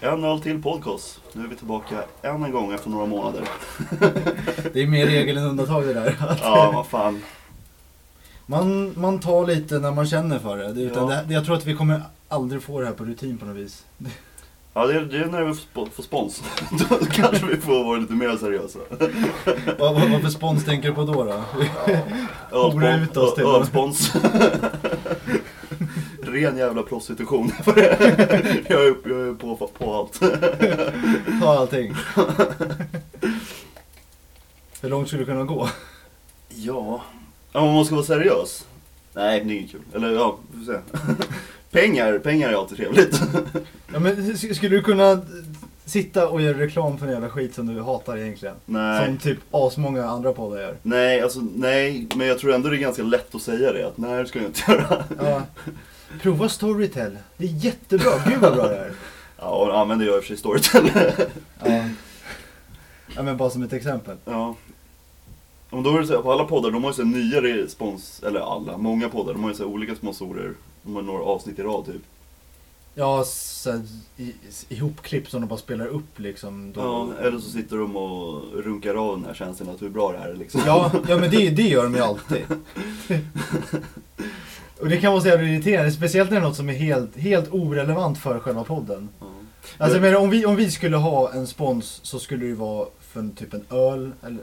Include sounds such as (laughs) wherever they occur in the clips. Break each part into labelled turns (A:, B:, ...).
A: En öl till podcast. Nu är vi tillbaka än en gång efter några
B: (laughs)
A: månader.
B: Det är mer regel än undantag det där.
A: Ja, vad fan.
B: Man, man tar lite när man känner för det. det, utan
A: Ja.
B: det här- jag tror att vi kommer aldrig få det här på rutin på något vis.
A: Ja, det är, det är när vi får sp- får spons. (laughs) Då kanske vi får vara lite mer seriösa.
B: Vad, vad, vad för spons tänker du på då? då?
A: Ölspon-
B: Hora ut oss till
A: ö-
B: dem.
A: Ölspons. (laughs) Ren jävla prostitution. (laughs) jag är, jag är på, på allt.
B: Ta allting. Hur långt skulle du kunna gå?
A: Ja, ja om man ska vara seriös. Nej, det är inget kul. Eller ja, vi får se. (laughs) pengar, pengar är alltid trevligt. (laughs)
B: Ja, men, sk- skulle du kunna sitta och göra reklam för en jävla skit som du hatar egentligen?
A: Nej.
B: Som typ asmånga andra poddar gör.
A: Nej, alltså nej, men jag tror ändå det är ganska lätt att säga det. Att nej, det ska jag inte göra.
B: Ja. Prova Storytel. Det är jättebra. Gud vad bra det är.
A: Ja, och använder jag i och för sig Storytel.
B: Ja. ja men bara som ett exempel.
A: (laughs) ja. Om då är det så här, på alla poddar, de har ju så här nyare spons, eller alla, många poddar, de har ju så här olika sponsorer. De har några avsnitt i rad typ.
B: Ja, så här, i- ihopklipp som de bara spelar upp liksom. Då.
A: Ja, eller så sitter de och runkar av den här känslan att hur bra det här är liksom.
B: Ja, ja men det, det gör de ju
A: (laughs)
B: alltid. Och det kan vara så jävla irriterande, speciellt när det är något som är helt, helt orelevant för själva podden.
A: Ja.
B: Alltså men om vi, om vi skulle ha en spons så skulle det ju vara för en, typ en öl eller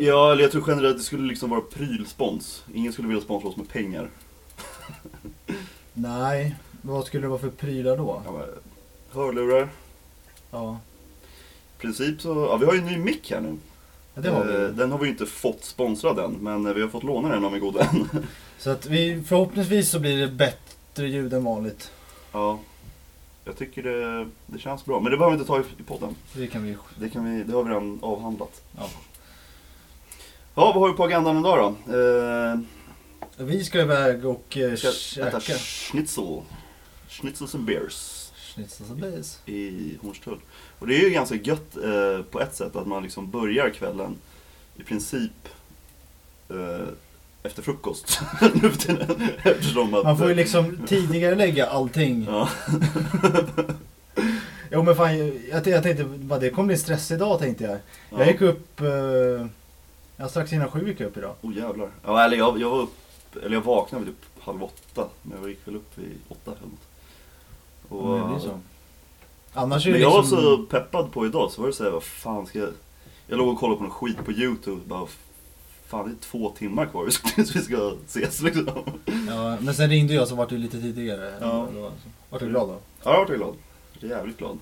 A: (laughs) Ja, eller jag tror generellt att det skulle liksom vara prylspons. Ingen skulle vilja sponsra oss med pengar.
B: Nej, vad skulle det vara för prylar då?
A: Ja, men, Hörlurar.
B: Ja,
A: I princip så, ja vi har ju en ny mick här nu.
B: ja, det har
A: Eh,
B: vi.
A: Den har vi ju inte fått sponsrad än, men eh, vi har fått låna den av en god vän.
B: Så att vi, förhoppningsvis så blir det bättre ljud än vanligt.
A: Ja, jag tycker det, det känns bra. Men det behöver vi inte ta i, i podden.
B: Det kan vi...
A: Det, kan vi, det har vi redan avhandlat.
B: Ja.
A: Ja, vad har vi på agendan idag då? Eh,
B: Vi ska iväg och eh,
A: vi ska äta
B: käka.
A: schnitzel. Schnitzels and beers.
B: Schnitzel och beers.
A: i Hornstull. Och det är ju ganska gött eh, på ett sätt att man liksom börjar kvällen i princip eh, efter frukost (laughs) nu för tiden. Eftersom att...
B: Man får
A: (laughs)
B: ju liksom tidigare lägga allting.
A: Ja,
B: Jo men fan, jag, jag tänkte bara det kommer bli stress idag tänkte jag.
A: ja.
B: Jag gick upp, eh, ja, strax innan sju gick jag upp idag.
A: Oh jävlar. Ja, eller jag, jag var upp, eller jag vaknade vid typ halv åtta. Men jag gick väl upp vid åtta eller något. Och,
B: Men det blir så. Annars är det
A: Men jag var
B: liksom...
A: så peppad på idag så var det såhär, vad fan ska jag... Jag låg och kollade på någon skit på youtube bara, fan det är två timmar kvar tills vi ska (laughs) ses liksom.
B: Ja, men sen ringde jag så vart det lite tidigare.
A: Ja.
B: Då- Vart du glad då?
A: Ja, jag vart glad. Jag är jävligt glad.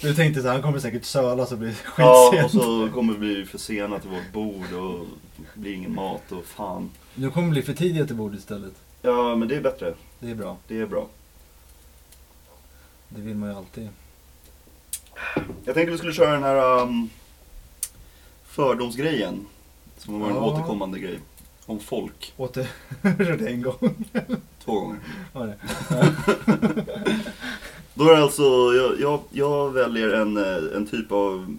B: Du tänkte så här, han kommer säkert söla så blir det
A: Ja, och
B: skitsent.
A: så kommer vi bli försenade till vårt bord och det blir ingen mat och fan.
B: Nu kommer det bli för tidigt till bordet istället.
A: Ja, men det är bättre.
B: Det är bra.
A: Det är bra.
B: Det vill man ju alltid.
A: Jag tänkte vi skulle köra den här um, fördomsgrejen. Som var en
B: Ja.
A: återkommande grej. Om folk.
B: Åter... (laughs) Körde en gång.
A: Två gånger.
B: Var det?
A: (laughs) Då är det alltså, jag, jag, jag väljer en, eh, en typ av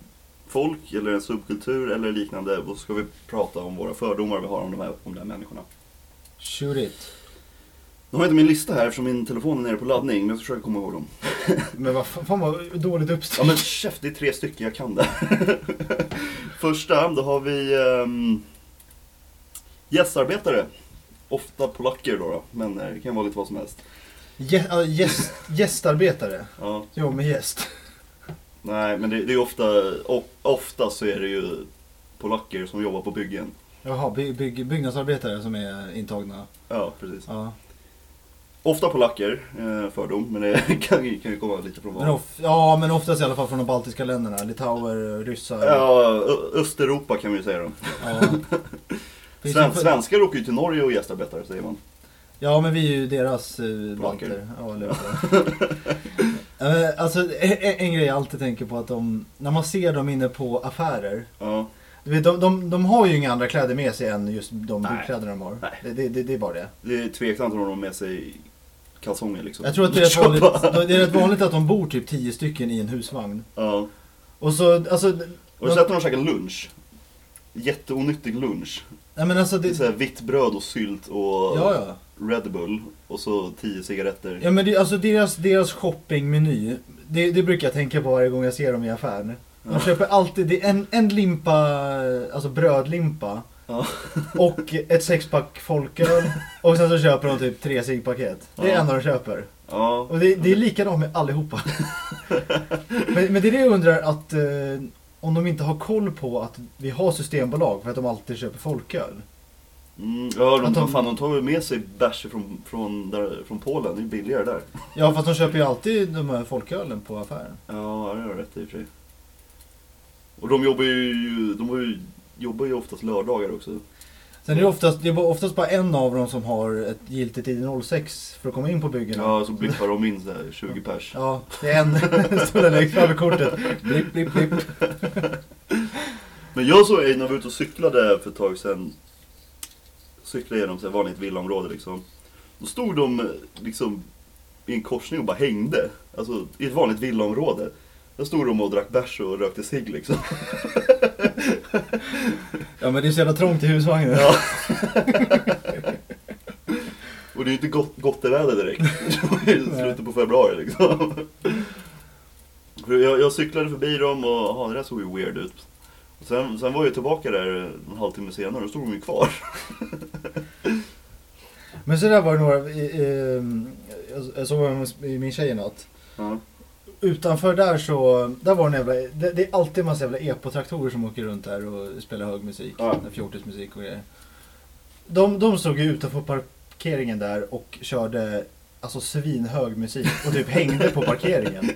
A: folk eller en subkultur eller liknande och så ska vi prata om våra fördomar vi har om de här, om de här människorna.
B: Shoot it.
A: Nu har jag inte min lista här eftersom min telefon är nere på laddning men jag försöker komma ihåg dem.
B: Men vad fan, fan vad dåligt
A: Ja
B: uppstyrt.
A: men chef, det är tre stycken, jag kan det. (laughs) Första, då har vi ehm, gästarbetare. Ofta polacker då, då, men eh, det kan vara lite vad som helst.
B: Gä- ja, gäst- Gästarbetare.
A: Ja,
B: Jo, med gäst.
A: nej, men det, det är ofta, o, ofta så är det ju polacker som jobbar på byggen.
B: Jaha, by- bygg- byggnadsarbetare som är intagna.
A: Ja, precis.
B: Ja.
A: Ofta polacker, eh, fördom, men det (laughs) kan, ju- kan ju komma lite från
B: Men,
A: var.
B: of- ja, men oftast i alla fall från de baltiska länderna. Litauer, ryssar.
A: Ja, Ö- Östeuropa kan vi ju säga då. (laughs)
B: Ja. Finns
A: Sven,
B: det-
A: svenskar åker ju till Norge och gästarbetar, säger man.
B: Ja, men vi är ju deras eh,
A: Polacker.
B: balter. Ja, eller
A: (laughs)
B: hur? Eh, alltså, en, en grej jag alltid tänker på att de, när man ser dem inne på affärer.
A: Ja,
B: Du vet, de, de, de har ju inga andra kläder med sig än just de
A: Nej.
B: byggkläderna de har.
A: Nej.
B: Det, det, det, det är bara det.
A: det är tveksamt om de har med sig kalsonger liksom.
B: Jag tror att det är,
A: (laughs)
B: rätt
A: Köpa.
B: vanligt, det är rätt vanligt att de bor typ tio stycken i en husvagn.
A: Ja.
B: Och så, alltså...
A: Och så äter de och käkar lunch. Jätteonyttig lunch.
B: Nej men alltså
A: Det är
B: det...
A: så här vitt bröd och sylt och
B: Ja, ja.
A: Red Bull och så 10 cigaretter.
B: Ja men det, alltså deras, deras shoppingmeny, det, det brukar jag tänka på varje gång jag ser dem i affären. De
A: Ja.
B: köper alltid det är en, en limpa, alltså brödlimpa
A: Ja.
B: och ett sexpack folköl och sen så köper de typ tre ciggpaket. Det är det
A: Ja.
B: enda de köper.
A: Ja.
B: Och det, det är likadant med allihopa. (laughs) men, men det är det jag undrar att eh, om de inte har koll på att vi har systembolag för att de alltid köper folköl.
A: Mm, ja, de,
B: Att de-
A: de... Fan, de tar väl med sig bärs från, från, där, från Polen, det är billigare där.
B: Ja fast de köper ju alltid de här folkölen på affären.
A: Ja, det har du rätt i och för sig. Och de jobbar ju, de har ju, jobbar ju oftast lördagar också.
B: Sen är det oftast, det är bara- oftast bara en av dem som har ett giltigt ID 06 för att komma in på byggena.
A: Ja, så blippar de in så här 20 pers.
B: Ja, det är en (laughs) står där längst fram i kortet. Blipp, blipp, blipp.
A: Men jag såg när vi var ute och cyklade för ett tag sedan. Cyklade genom så här vanligt villaområde liksom. Då stod de eh, liksom i en korsning och bara hängde. Alltså i ett vanligt villaområde. Där stod de och drack bärs och rökte cigg liksom. (laughs)
B: Ja men det är så jävla trångt i husvagnen.
A: Ja. Och det är ju inte gott, gotteväder direkt. (laughs) Det var ju
B: Nej.
A: slutet på februari liksom. För Jag, jag cyklade förbi dem och aha, det där såg ju weird ut. Och sen, sen var jag tillbaka där en halvtimme senare och då stod de ju kvar.
B: Men så där var det några, i- i- jag- jag såg dem i min tjej i natt.
A: Ja.
B: Utanför där så, där var en jävla, det, det är alltid en massa jävla epotraktorer som åker runt där och spelar hög musik.
A: Ja.
B: Fjortismusik och grejer. De, de stod ju utanför parkeringen där och körde alltså svinhög musik och typ hängde på parkeringen.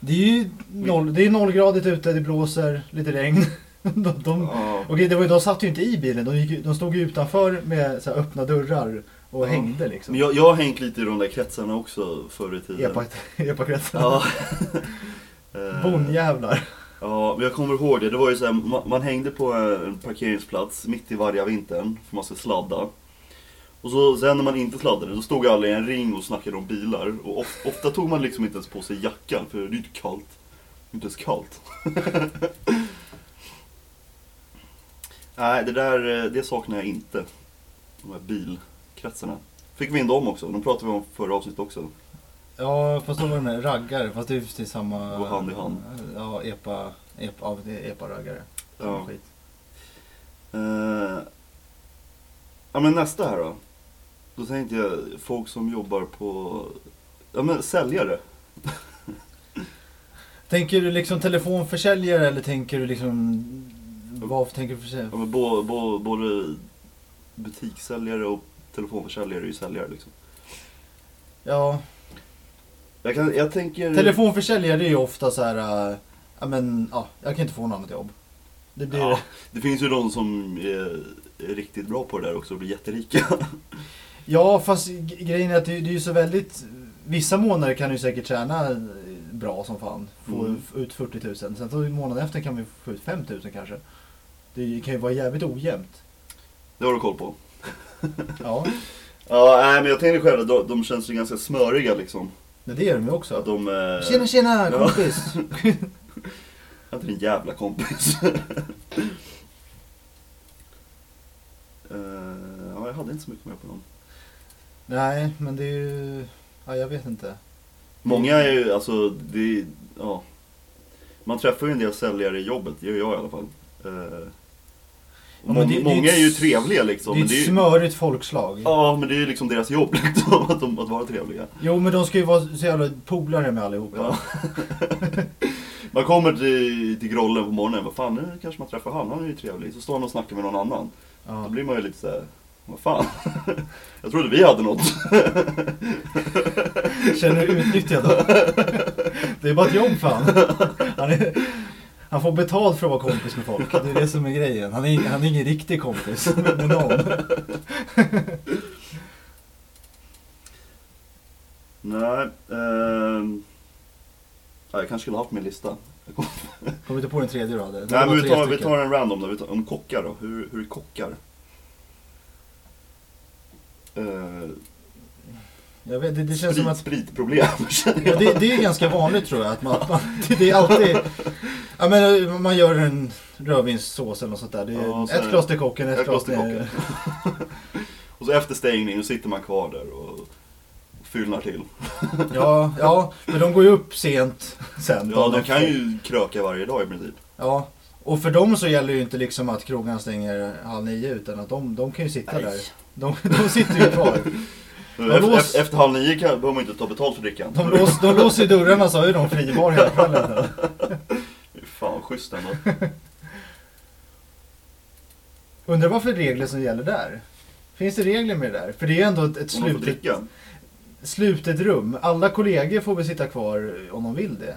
B: Det är ju noll, det är nollgradigt ute, det blåser, lite regn. De, de,
A: Ja.
B: Okej, det var, ju- de satt ju inte i bilen, de, gick, ju- de stod ju utanför med så här, öppna dörrar och
A: Ja.
B: hängde
A: Men
B: liksom.
A: jag, jag har hängt lite i de där kretsarna också förr i tiden.
B: Epa- (laughs) Epa-kretsen. (laughs)
A: Ja. Eh,
B: Bonjävlar.
A: Ja, men jag kommer ihåg det. Det var ju så här, man, man hängde på eh, en parkeringsplats mitt i varje vintern för man ska sladda. Och så, sen när man inte sladdade, då stod alla i en ring och snackade om bilar. Och of, ofta tog man liksom inte ens på sig jackan, för det är ju inte kallt. Det är Inte ens kallt. (laughs) Nej, det där eh, det saknar jag inte. De här bilkretsarna. Fick vi in dem också? De pratade vi om förra avsnittet också.
B: Ja, fast då var det med raggare, fast det är precis samma...
A: Går hand i hand.
B: Ja, epa, epa, ja, det är epa-raggare. Samma
A: Ja.
B: skit.
A: Eh, ja men nästa här då. Då tänkte jag folk som jobbar på, ja men säljare.
B: Tänker du liksom telefonförsäljare eller tänker du liksom... Vad tänker du försäljare?
A: Ja, men bo, bo, både butikssäljare och telefonförsäljare är ju säljare liksom.
B: Ja,
A: Jag, kan, jag tänker...
B: telefonförsäljare är ju ofta så här... äh, Ja, men ja, jag kan inte få något annat jobb. Det blir...
A: ja, det finns ju de som är, är riktigt bra på det där också och blir jätterika. (laughs)
B: Ja, fast g- grejen är att det, det är ju så väldigt... Vissa månader kan du säkert tjäna eh, bra som fan. Få
A: Mm.
B: f- ut 40 000. Sen så månaden efter kan vi få ut 5 000 kanske. Det kan ju vara jävligt ojämnt.
A: Det har du koll på.
B: Ja,
A: Ja, nej, men jag tänkte själv att de, de känns ju ganska smöriga liksom.
B: men det är de ju
A: Att
B: också.
A: de... Eh,
B: Tjena tjena
A: Ja.
B: kompis! (laughs)
A: Jag hade en jävla kompis. (laughs) Eh, ja, jag hade inte så mycket mer på dem.
B: Nej, men det är ju... Ja, jag vet inte.
A: Många är ju, alltså, det är- ja. Man träffar ju en del säljare i jobbet, det gör jag i alla fall. Eh,
B: Ja, men
A: må-
B: det- det är
A: många
B: ett-
A: är ju trevliga liksom.
B: det är
A: men
B: ett
A: det är ju,
B: smörigt folkslag.
A: ja, men det är ju liksom deras jobb (laughs) liksom, att, de, att vara trevliga.
B: Jo, men de ska ju vara så jävla polare med allihopa.
A: Ja. man kommer till, till grollen på morgonen, vad fan, nu kanske man träffar han, han är ju trevlig. Så står han och snackar med någon annan.
B: Ja.
A: Då blir man ju lite såhär, vad fan? (laughs) Jag trodde vi hade något.
B: Känner du
A: (laughs)
B: utnyttjad då? Det är bara ett jobb fan. Han, är, han får betalt för att vara kompis med folk. Det är det som är grejen. Han är, ing- han är ingen riktig kompis med någon.
A: Nej, ehm... ja, jag kanske skulle ha haft min lista. Jag kom-
B: Kommer inte på den tredje då? Det
A: Nej,
B: var
A: men vi
B: tre
A: tar, vi
B: stycken.
A: tar en random då. Vi tar, om kockar då. Hur, hur är kockar? Uh,
B: Jag vet, det, det känns
A: sprit,
B: som att
A: Spritproblem (laughs) känner
B: ja,
A: jag.
B: det, det är ganska vanligt tror jag. Att man, man, det är alltid... Ja, men, eh, man gör en rödvinssås eller något sånt där. Det är
A: Ja, så är
B: ett
A: det.
B: glas till kocken, ett, glas till...
A: kocken. Och så efter stängning sitter man kvar där och fyllnar till.
B: (laughs) Ja, ja, men de går ju upp sent sen.
A: Ja, de kan ju kröka varje dag i princip.
B: Ja, och för dem så gäller ju inte liksom att krogan stänger halv nio utan att de, de kan ju sitta
A: Nej.
B: där. De, (laughs) de sitter ju kvar. De
A: Efter,
B: lås-
A: efter, efter halv nio kan, behöver man inte ta betalt för drickan.
B: De, lås, de låser ju dörrarna så har ju de fribar hela kvällen.
A: Fan, schysst
B: (laughs)
A: ändå.
B: Undrar vad för regler som gäller där? Finns det regler med det där? För det är ju ändå ett, ett
A: Om man får
B: slutet,
A: dricka.
B: slutet rum. Alla kollegor får väl sitta kvar eh, om de vill det.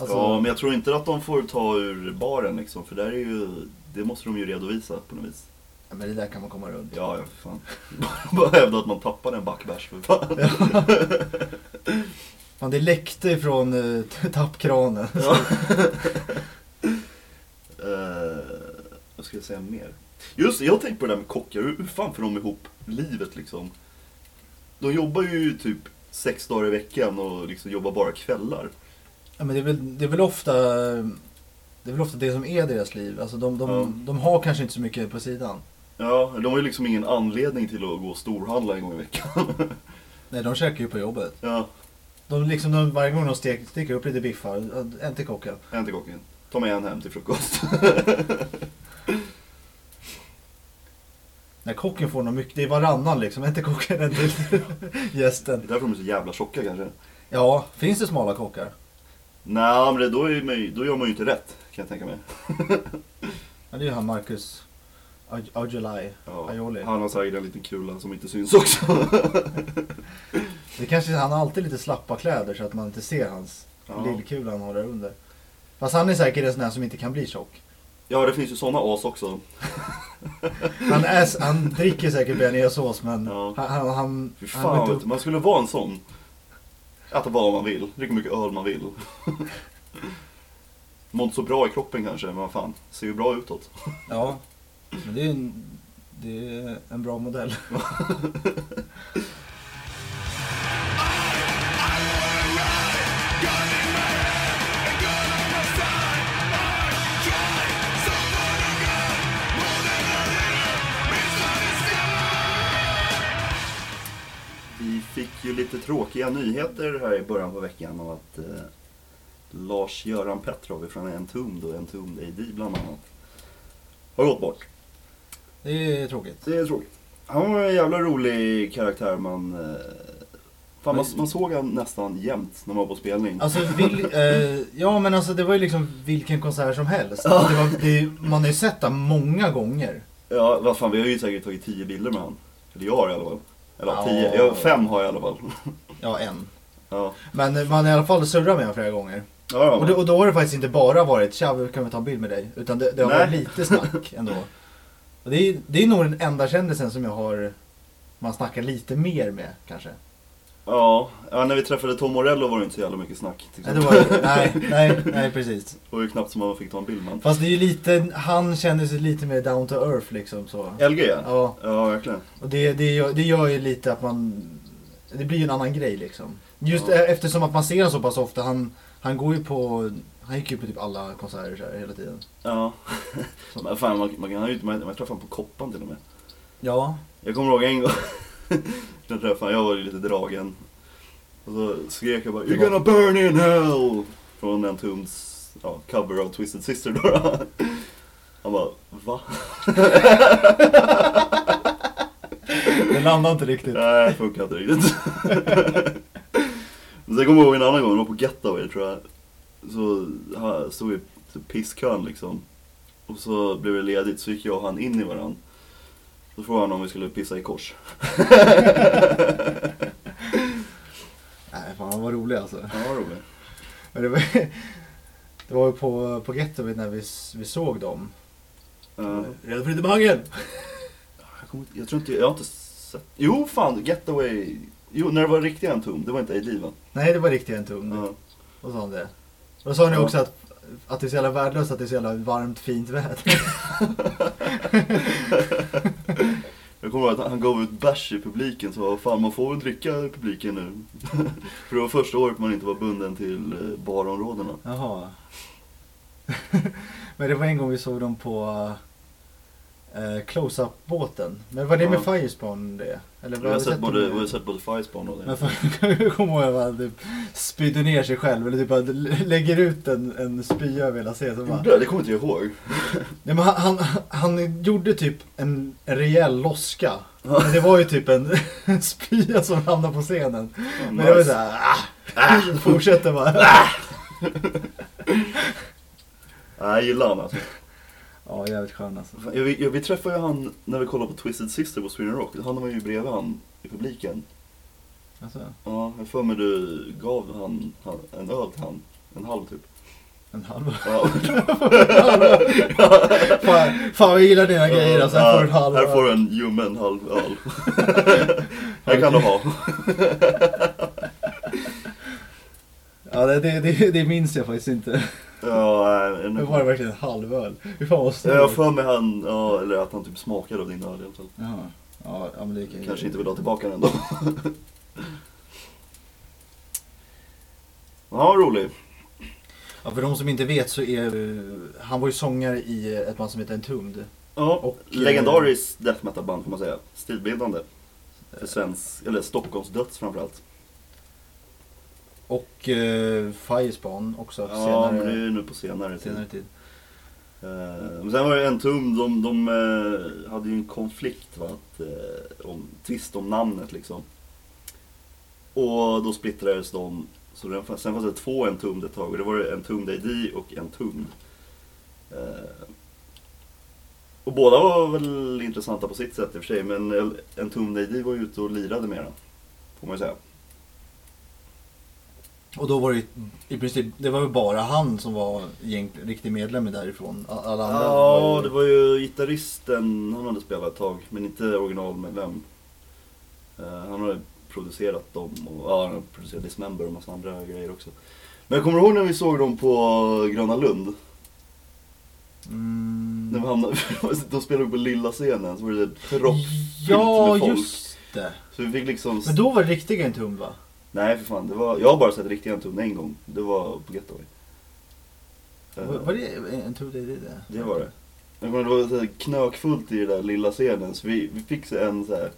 B: Alltså,
A: Ja, men jag tror inte att de får ta ur baren liksom, för där är ju, det måste de ju redovisa på något vis.
B: ja, men det där kan man komma runt.
A: Ja, ja, för fan. (laughs) Bara hävda att man tappade en backbärs för fan.
B: Fan, det läckte ifrån uh, (laughs) tappkranen.
A: Ja. (laughs) Eh, vad ska jag säga mer? Just det, jag tänkte på det där med kockar. Hur hur fan får de ihop livet liksom? De jobbar ju typ sex dagar i veckan och liksom jobbar bara kvällar.
B: Ja, men det, är väl, det är väl ofta det är väl ofta det som är deras liv. Alltså de, de,
A: Ja.
B: de har kanske inte så mycket på sidan.
A: Ja, de har ju liksom ingen anledning till att gå och storhandla en gång i veckan. (laughs)
B: Nej, de käkar ju på jobbet.
A: Ja,
B: De liksom, de, varje gång de stek, steker upp lite biffar, eh, en till kocken.
A: en till kocken. Ta med en hem till frukost. (laughs)
B: När kocken får något mycket, det är varannan liksom, en till kocken, en till (laughs)
A: Det
B: gästen.
A: är därför de är så jävla tjocka kanske.
B: Ja, finns det smala kockar?
A: Nej, men det, då, är man, ju- då gör man ju inte rätt, kan jag tänka mig.
B: Ja, det är ju han Marcus Aj- Aujalay.
A: Ja,
B: Aioli.
A: han har säkert en liten kula som inte syns också. (laughs)
B: Det kanske, han har alltid lite slappa kläder så att man inte ser hans
A: Ja.
B: lillkula han har där under. Fast han är säkert en sån här som inte kan bli tjock.
A: Ja, det finns ju såna as också.
B: Han, är, han dricker säkert bearnaisesås men
A: Ja.
B: han, han, han,
A: Fy
B: han går
A: fan,
B: inte
A: vet du, man skulle vara en sån. Äta vad man vill, dricka mycket öl man vill. (laughs) Mår inte så bra i kroppen kanske, men vad fan. Ser ju bra utåt.
B: Ja, men det är en, det är en bra modell.
A: Vi fick ju lite tråkiga nyheter här i början på veckan om att eh, Lars-Göran Petrov från Entombed och Entombed AD bland annat har gått bort.
B: Det är tråkigt.
A: Det är tråkigt. Han var en jävla rolig karaktär man... eh, Fan, man, man såg han nästan jämt när man var på spelning.
B: Alltså, vil, eh, ja men alltså det var ju liksom vilken konsert som helst. Det var, det, man har ju sett det många gånger.
A: Ja, vad fan, vi har ju säkert tagit tio bilder med han. Eller jag har i alla fall. Eller
B: Ja.
A: tio, ja, fem har jag i alla fall. (laughs)
B: Ja, en.
A: Ja,
B: Men man har i alla fall surrat med honom flera gånger.
A: ja, ja.
B: Och, det, och då har det faktiskt inte bara varit tja, kan vi ta en bild med dig? Utan det, det har varit
A: Nej. (laughs)
B: lite snack ändå. Och det, är, det är nog den enda kändisen som jag har man snackar lite mer med kanske.
A: ja. ja, när vi träffade Tom Morello var det inte så jävla mycket snack. Till
B: Nej,
A: exempel.
B: det var, nej,
A: (laughs)
B: nej, nej precis.
A: Det var ju knappt som man fick ta en bild med honom.
B: Fast det är ju lite, han känner sig lite mer down to earth liksom så.
A: LG ja.
B: Ja,
A: Ja, verkligen.
B: och det, det, gör, det gör ju lite att man, det blir ju en annan grej liksom. Just
A: Ja.
B: e- eftersom att man ser honom så pass ofta, han, han går ju på, han gick ju på typ alla konserter så här hela tiden.
A: Ja. (laughs) Men fan, man, man, kan ju inte- man, man träffade honom på Koppan till och med.
B: Ja.
A: Jag kommer ihåg en gång (laughs) jag träffade honom, jag var ju lite dragen. Och så skrek jag bara You're gonna burn in hell! Från en tums ja, cover av Twisted Sister då. (laughs) Han bara va?
B: Det landar inte riktigt.
A: Nej, det funkar inte riktigt. (laughs) Men Sen kommer jag ihåg en annan gång, det var på Getaway tror jag. Så här stod vi i pisskön liksom. Och så blev det ledigt, så gick jag och han in i varandra. Så frågade han om vi skulle pissa i kors. (laughs)
B: Nej fan han var rolig alltså.
A: Ja, roligt.
B: Men det var, (laughs) det var ju på, på Getaway när vi, s- vi såg dem.
A: Ja.
B: Redo för lite mangel!
A: Jag, kommer inte- jag tror inte, jag har inte sett... Jo fan, Getaway. Jo, när det var riktiga Entombed, det var inte A-Liv va?
B: Nej det var riktigt en tum.
A: Ja. (laughs)
B: Och sa han det. Och då sa han ju
A: Ja.
B: också att, att det är så jävla värdelöst att det är så jävla varmt fint väder.
A: (laughs) Jag kommer ihåg att han gav ut bärs i publiken så vad fan man får väl dricka i publiken nu. (laughs) För det var första året man inte var bunden till eh, barområdena.
B: (laughs) Jaha. Men det var en gång vi såg dem på eh, close-up-båten. Men vad är det med
A: Ja.
B: Firespawn det? Eller vad
A: Vi har sett
B: dem
A: både,
B: med?
A: vi har sett både Firespawn och
B: Men
A: det.
B: för, (laughs) jag kommer ihåg att han typ spydde ner sig själv eller typ bara lä- lägger ut en, en spya över hela scenen. så bara-
A: Gjorde jag? Det kommer inte jag ihåg.
B: Nej, men han, han, han gjorde typ en rejäl loska. Men det var ju typ en, (laughs) en spya som hamnade på scenen. (laughs) Men det var ju såhär, ah,
A: Ah! (laughs)
B: fortsätter bara.
A: Nej, jag gillar han alltså.
B: Ja, jävligt skön alltså.
A: Fan, Jag, vi- jag, vi träffade ju han när vi kollade på Twisted Sister på Sweden Rock. Han var ju bredvid han i publiken.
B: alltså
A: Ja, jag för mig du gav han, han en öl till han. En halv typ.
B: en halv. (laughs)
A: Ja.
B: fan, fan jag gillar dina grejer alltså. Här får du en halv.
A: Här får du en ljummen halv öl.
B: (laughs)
A: (laughs) här kan du ha.
B: Ja, det, det, det, det minns jag faktiskt inte.
A: Ja, nej,
B: Det
A: nu-
B: var verkligen en halv öl. Hur fan var
A: jag har
B: stor?
A: för mig han, ja, eller att han typ smakade av din öl i alla fall.
B: Jaha. Ja, ja, men det kan ju-
A: Kanske inte vill ha tillbaka den ändå. (laughs) Ja, rolig.
B: Ja, för de som inte vet så är eh, han var ju sångare i eh, ett band som heter Entombed.
A: Ja,
B: Och, eh,
A: legendariskt death metal band får man säga. Stilbildande. För svensk, eller Stockholms döds framförallt.
B: Och eh, Firespawn också
A: Ja, men det är
B: senare,
A: ju nu på senare tid.
B: senare tid.
A: Eh, Men sen var det en tum, de, de eh, hade ju en konflikt va, att, eh, om, tvist om namnet liksom. Och då splittrades de. Så den, fann- sen fanns det två en tum ett tag och det var en tum D och en tum. Eh, och båda var väl intressanta på sitt sätt i och för sig men El- en tum D var ju ute och lirade med den. Får man ju säga.
B: Och då var det ju i princip, det var väl bara han som var gäng, riktig medlem därifrån. A- Alla andra var
A: Ja,
B: ju-
A: det var ju gitarristen han hade spelat ett tag, men inte originalmedlem. Eh, Han har ju producerat dem och ja, han har producerat Dismember och massa andra grejer också. Men kommer du ihåg när vi såg dem på Gröna Lund? När
B: Mm.
A: vi hamnade, (laughs) de spelade på lilla scenen, så var det typ proppfyllt
B: Ja,
A: med folk.
B: just det.
A: Så vi fick liksom...
B: Men då var det riktiga Entombed va?
A: Nej för fan, det var... jag har bara sett riktiga Anton en gång. Det var på Getaway. Eh,
B: Var, var det Entombed det, det? det?
A: Det var det. Jag kommer, det var så här knökfullt i den där lilla scenen så vi, vi fick så en så här.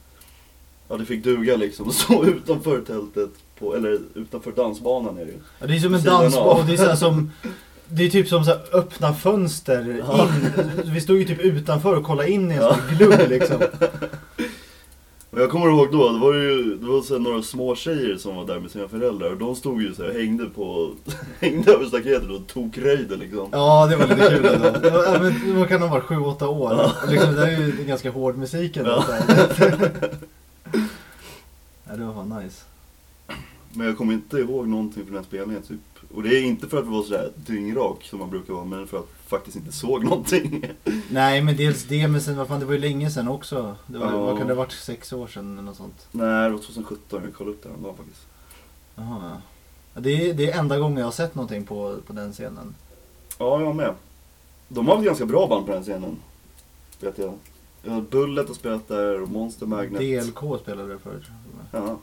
A: Ja det fick duga liksom, (laughs) stå utanför tältet, på, eller utanför dansbanan är det ju.
B: Ja, det är som en
A: Vid sidan
B: dansbana,
A: av.
B: och det är så här som det är typ som så här öppna fönster
A: Ja.
B: in. Vi stod ju typ utanför och kollade in i en
A: Ja.
B: sån glugg liksom.
A: Och jag kommer ihåg då, det var ju det var så här några små tjejer som var där med sina föräldrar och de stod ju så här, hängde på, (laughs) hängde över staketet och tog röjde liksom.
B: Ja, det var lite kul ändå. Det var- ja, men Man kan ha varit 7-8 år. Och Liksom, det är ju ganska hård musik ändå.
A: Ja.
B: så här. (laughs) Ja, det var fan nice.
A: Men jag kommer inte ihåg någonting från den här spelningen typ. Och det är inte för att vi var sådär dyngrak som man brukar vara, men för att jag faktiskt inte såg (laughs) någonting.
B: Nej, men dels det, men sen vad fan, det var ju länge sedan också. Det var,
A: Ja.
B: Vad kan det ha varit? Sex år sedan eller något sånt.
A: Nej, det var 2017, jag kollade upp det häromdagen faktiskt.
B: Jaha, ja. ja. Det är, det är enda gången jag har sett någonting på, på den scenen.
A: Ja, jag med. De har varit ganska bra band på den scenen. Vet jag. Ja, Bullet har spelat där och Monster Magnet.
B: DLK spelade det förut.
A: Ja.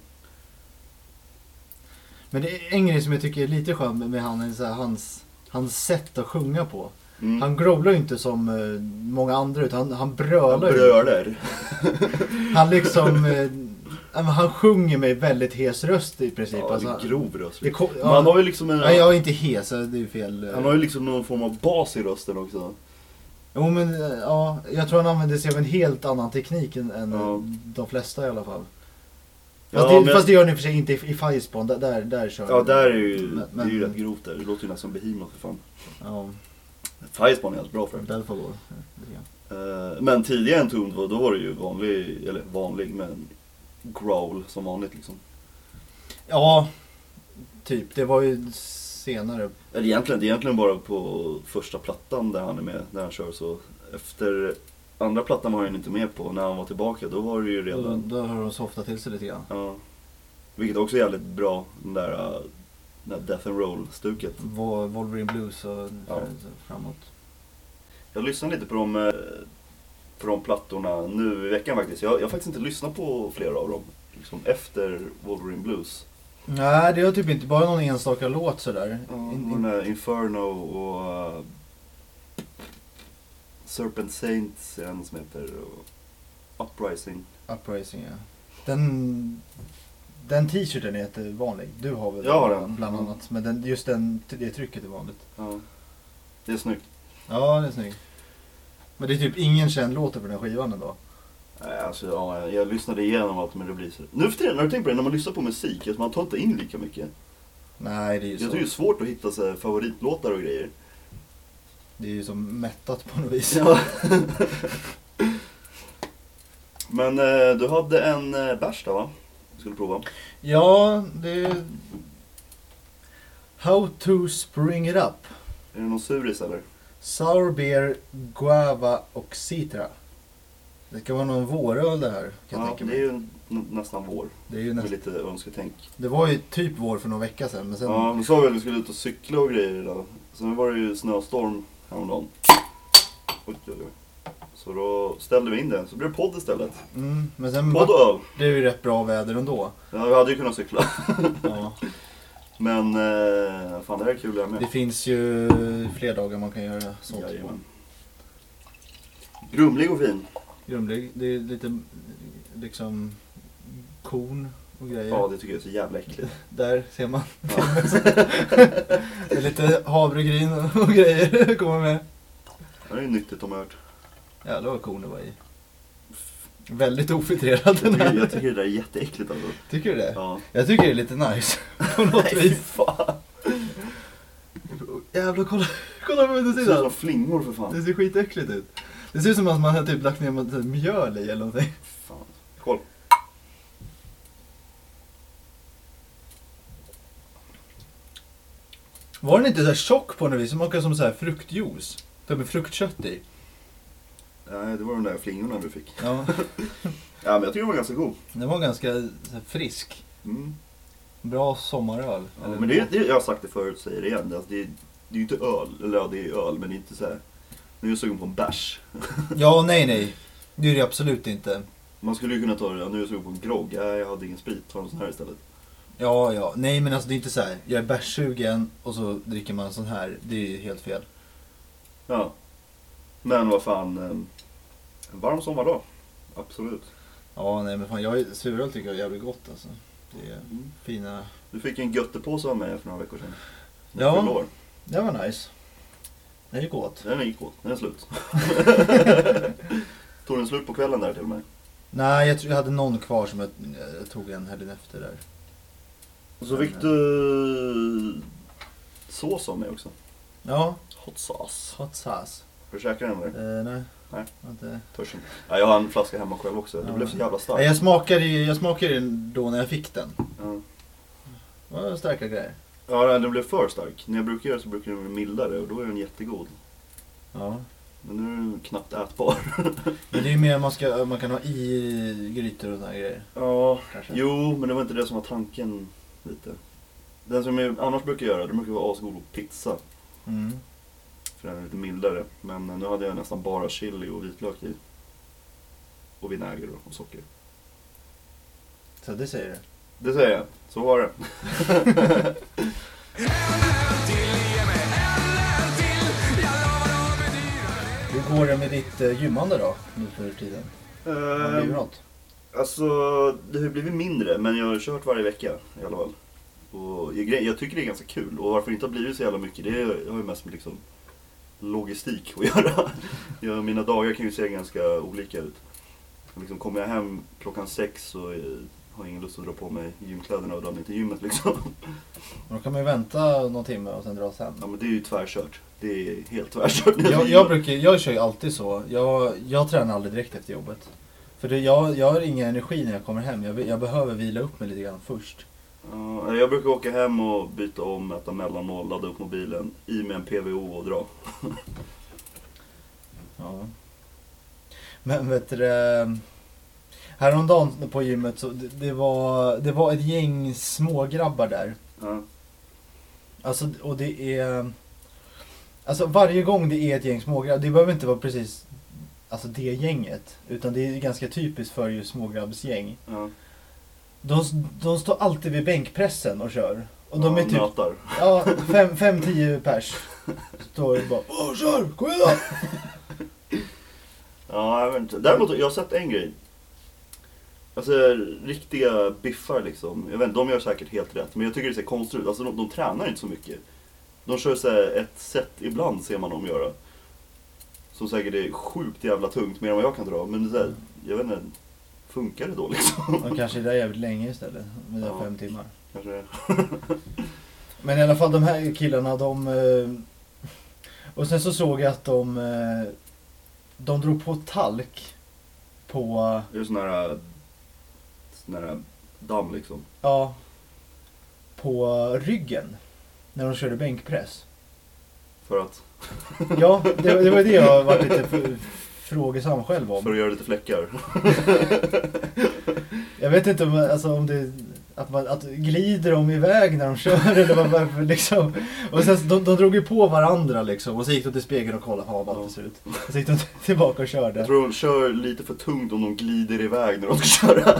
B: Men det är en grej som jag tycker är lite skön med han, är så här, hans, hans sätt att sjunga på.
A: Mm.
B: Han growlar ju inte som eh, många andra utan han, han
A: Han
B: brölar ju.
A: brölar.
B: Han liksom, eh, ja, men han sjunger med väldigt hes röst i princip.
A: Ja, det
B: alltså,
A: är grov röst.
B: det ko-
A: Men han har ju liksom en...
B: Nej, jag är inte hes, det är ju fel. eh.
A: Han har ju liksom någon form av bas i rösten också.
B: Jo men eh, ja, jag tror han använder sig av en helt annan teknik än, än
A: Ja.
B: de flesta i alla fall.
A: Ja,
B: Fast, det,
A: men-
B: fast det gör han i och för sig inte i, i Firespawn, där, där, där kör
A: Ja,
B: han.
A: där är ju,
B: Men-
A: det är ju
B: men-
A: rätt grovt där. Det låter ju nästan Behemoth för fan.
B: Ja,
A: Firespawn är allt bra för.
B: där får gå. Ja.
A: Eh, Men tidigare än Tombed då var det ju vanlig, eller vanlig, men growl som vanligt liksom.
B: Ja, typ. Det var ju senare.
A: Eller egentligen, det är egentligen bara på första plattan där han är med, när han kör så. Efter andra plattan var han inte med på, när han var tillbaka då var det ju
B: Då,
A: redan...
B: då har de softat till sig lite grann.
A: Ja. Vilket också är jävligt bra, den där, eh, den där Death and Roll-stuket.
B: Vol- Wolverine Blues och
A: Ja.
B: framåt.
A: Jag lyssnade lite på de, eh, på de plattorna nu i veckan faktiskt. Jag, jag har faktiskt inte lyssnat på flera av dem, liksom efter Wolverine Blues.
B: Nej, det har typ inte bara någon enstaka låt sådär.
A: Ja,
B: In,
A: och den
B: in,
A: där Inferno och... eh, Serpent Saints är en som heter. Och Uprising.
B: Uprising ja. Den, den t-shirten är jättevanlig. Du har väl
A: Jag har
B: den
A: den.
B: bland
A: Mm.
B: annat. Men den, just den, det trycket är vanligt.
A: Ja. Det är snyggt.
B: Ja, det är snygg. Men det är typ ingen känd låt på den här skivan ändå.
A: Nej, Alltså, ja, jag- jag lyssnade igenom allt men det blir så. Nu för tiden, har du tänkt på det? När man lyssnar på musik, att man tar inte in lika mycket.
B: Nej, det är ju
A: Jag
B: så.
A: tycker det är svårt att hitta så här, favoritlåtar och grejer.
B: Det är ju som mättat på något vis.
A: Ja. (laughs) Men eh, du hade en eh, bärs där va? Du skulle prova.
B: Ja, det är... How to spring it up.
A: Är det någon suris eller?
B: Sour beer, guava och citra. Det kan vara någon våröl det här. Kan jag
A: Ja,
B: tänka
A: det är
B: mig.
A: ju n- nästan vår.
B: Det, är ju
A: Med
B: näst...
A: lite önsketänk.
B: det var ju typ vår för någon vecka sedan. Men sen...
A: Ja, men sa vi att vi skulle ut och cykla och grejer idag. Sen var det ju snöstorm häromdagen. Oj, oj, oj. Så då ställde vi in det. Så blev det podd istället.
B: Mm, men sen
A: Podd och öl.
B: det är ju rätt bra väder ändå.
A: Ja, vi hade ju kunnat cykla. (laughs)
B: Ja.
A: Men eh, fan, det här är kul det här med.
B: Det finns ju fler dagar man kan göra sånt.
A: Jajamän. Grumlig och fin.
B: Grumlig, det är lite liksom korn och grejer.
A: Ja, det tycker jag är så jävla äckligt.
B: Där ser man. (laughs) det är lite havregryn och grejer kommer med.
A: Det här är ju nyttigt om ört.
B: Ja, det var korn det var i. Väldigt ofiltrerad (laughs) den
A: Jag tycker,
B: här.
A: jag tycker det där är jätteäckligt alltså.
B: Tycker du det? (laughs)
A: Ja.
B: Jag tycker det är lite nice. (laughs) På något
A: fy
B: vis.
A: fan.
B: Jävlar, kolla, kolla på
A: Det ser ut
B: undersidan.
A: som flingor för
B: Det
A: fan.
B: ser skitäckligt ut. Det ser ut som att man har typ lagt ner massa mjöl i eller någonting.
A: fan. Skål.
B: Var den inte så här tjock på något vis? Den smakade som så här fruktjuice. Typ med fruktkött i.
A: Nej, det var de där flingorna du fick.
B: Ja,
A: Ja, men jag tycker den var ganska god.
B: den var ganska så här frisk.
A: Mm.
B: Bra sommaröl.
A: Ja,
B: Eller-
A: men det, är- det, är- jag har sagt det förut, säger det igen. Det, är- det, är- det är ju inte öl, eller ja, det är öl, men det är inte så här. Nu är jag sugen på en bärs.
B: Ja, nej, nej. Det är det absolut inte.
A: Man skulle ju kunna ta det, ja, nu är jag sugen på en grogg. Ja, jag hade ingen sprit, ta en sån här istället.
B: Ja, ja. Nej, men alltså det är inte så här. Jag är bärssugen och så dricker man sån här. Det är ju helt fel.
A: Ja. Men vad fan. eh, En varm sommardag. Absolut.
B: Ja, nej, men fan. Jag är, suröl tycker jag är jävligt gott alltså. Det är
A: Mm.
B: fina.
A: Du fick en göttepåse av mig för några veckor sedan. Som
B: Ja.
A: jag fyllde år.
B: Det var nice. Det är gott.
A: Den gick åt, den är (laughs) slut. Tog den slut på kvällen där till och med?
B: Nej, jag, tror, jag hade någon kvar som jag, jag tog en helgen efter där.
A: Och så fick du Eh. sås av mig också.
B: Ja,
A: Hot sauce.
B: hot sauce.
A: Har du käkat den eller?
B: Eh, nej.
A: Nej.
B: Inte.
A: Törs inte. Ja, jag har en flaska hemma själv också. Det
B: Ja.
A: blev så jävla
B: Nej,
A: starkt.
B: jag smakade ju jag smakade ju den då när jag fick den.
A: Ja.
B: Det var starka grejer.
A: Ja, den blev för stark. När jag brukar göra så brukar den bli mildare och då är den jättegod.
B: Ja.
A: Men nu är den knappt ätbar. (laughs)
B: Men det är ju mer man, ska, man kan ha i grytor och såna här grejer.
A: Ja,
B: Kanske.
A: Jo, men det var inte det som var tanken lite. Den som jag annars brukar göra, det brukar vara asgod på pizza.
B: Mm.
A: För den är lite mildare. Men nu hade jag nästan bara chili och vitlök i. Och vinäger och socker.
B: Så det säger du.
A: Det säger jag, så var det.
B: Hur går det med ditt eh, gymmande då, nu för tiden? Har det blivit något?
A: alltså, det har ju blivit mindre, men jag har kört varje vecka i alla fall. Och jag, gre- jag tycker det är ganska kul. Och varför det inte har blivit så jävla mycket, det har ju mest med liksom logistik att (laughs) göra. Jag, mina dagar kan ju se ganska olika ut. Liksom, kommer jag hem klockan sex så eh, har jag ingen lust att dra på mig gymkläderna och dra mig till gymmet liksom. (laughs)
B: Då kan man ju vänta någon timme och sen dra sen.
A: Ja men det är ju tvärkört. Det är helt tvärkört. (laughs)
B: Jag, jag, brukar, jag kör ju alltid så. Jag, jag tränar aldrig direkt efter jobbet. För det, jag, jag har ingen energi när jag kommer hem. Jag, be- jag behöver vila upp mig lite grann först.
A: Ja, jag brukar åka hem och byta om, äta mellanmål, ladda upp mobilen, i med en PVO och dra.
B: Ja. Men vet du det, Häromdagen på gymmet så det, det, var, det var ett gäng smågrabbar där.
A: Ja.
B: Alltså, och det är... Alltså varje gång det är ett gäng smågrabb, det behöver inte vara precis alltså, det gänget. Utan det är ganska typiskt för just smågrabbsgäng.
A: Ja.
B: De, de står alltid vid bänkpressen och kör. Och de
A: ja,
B: är typ
A: nötar.
B: ja, fem, fem, tio pers. Står och bara Åh, kör! Kom igen då!
A: Ja, jag vet inte. Däremot, jag har sett en grej. Alltså riktiga biffar liksom. Jag vet inte, de gör säkert helt rätt. Men jag tycker det ser konstigt ut. Alltså de, de tränar inte så mycket. De kör så här ett set ibland ser man dem göra. Som säkert är sjukt jävla tungt, mer än vad jag kan dra. Men så här, jag vet inte, funkar det då liksom? (laughs)
B: De kanske är där jävligt länge istället. Med
A: Ja.
B: fem timmar.
A: Kanske det.
B: Men i alla fall de här killarna de... eh, Och sen så såg jag att de... eh, De drog på talk på...
A: Det är sån här, sån här damm liksom.
B: Ja. På ryggen. När de körde bänkpress.
A: För att,
B: Ja, det, det var ju det jag var lite f- frågesam själv
A: för
B: om.
A: att göra lite fläckar.
B: Jag vet inte om, alltså, om det... Att, man, att glider de iväg när de kör eller vad- varför liksom. Och sen så- de, de drog ju på varandra liksom och så gick de till spegeln och kollade, fan vad allt det ser ut. Och så gick de (laughs) tillbaka och körde.
A: Jag tror de kör lite för tungt om de glider iväg när de ska köra.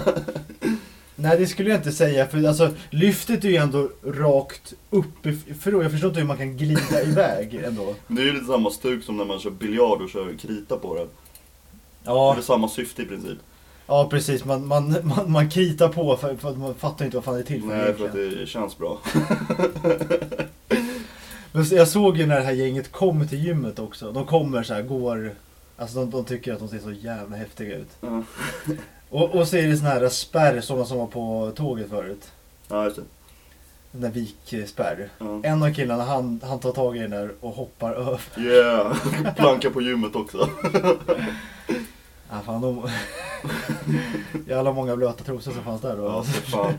B: Nej det skulle jag inte säga för alltså, lyftet är ju ändå rakt uppifrån. Jag förstår inte hur man
A: (laughs)
B: kan glida iväg ändå.
A: Men Det är ju lite samma stuk som när man kör biljard och kör krita på den. Det är
B: Ja,
A: väl samma syfte i princip.
B: ja precis. Man, man, man, man kritar på för, för att man fattar inte vad fan det är till för
A: Nej, för
B: egentligen.
A: att det känns bra.
B: Men så- Jag såg ju när det här gänget kom till gymmet också. De kommer så här, går... Alltså de, de tycker att de ser så jävla häftiga ut.
A: Ja, (laughs)
B: Och, och så är det såna här spärr, sådana som var på tåget förut.
A: ja just det.
B: Den där vikspärr.
A: Ja.
B: En av killarna han, han tar tag i den där och hoppar över.
A: Yeah! (laughs) Planka på gymmet också.
B: Ja, fan, de... (laughs) Jävla många blöta trosor som fanns där då.
A: Ja, för fan.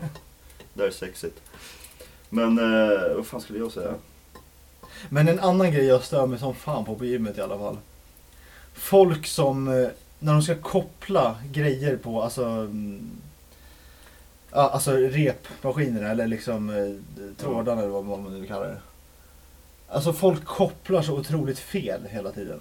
A: Det är sexigt. Men eh, vad fan skulle jag säga?
B: Men en annan grej jag stör mig som fan på på gymmet i alla fall. Folk som, eh, när de ska koppla grejer på, alltså, mm, ja, alltså repmaskinerna eller liksom eh, trådarna eller vad vad man nu kallar det. Alltså folk kopplar så otroligt fel hela tiden.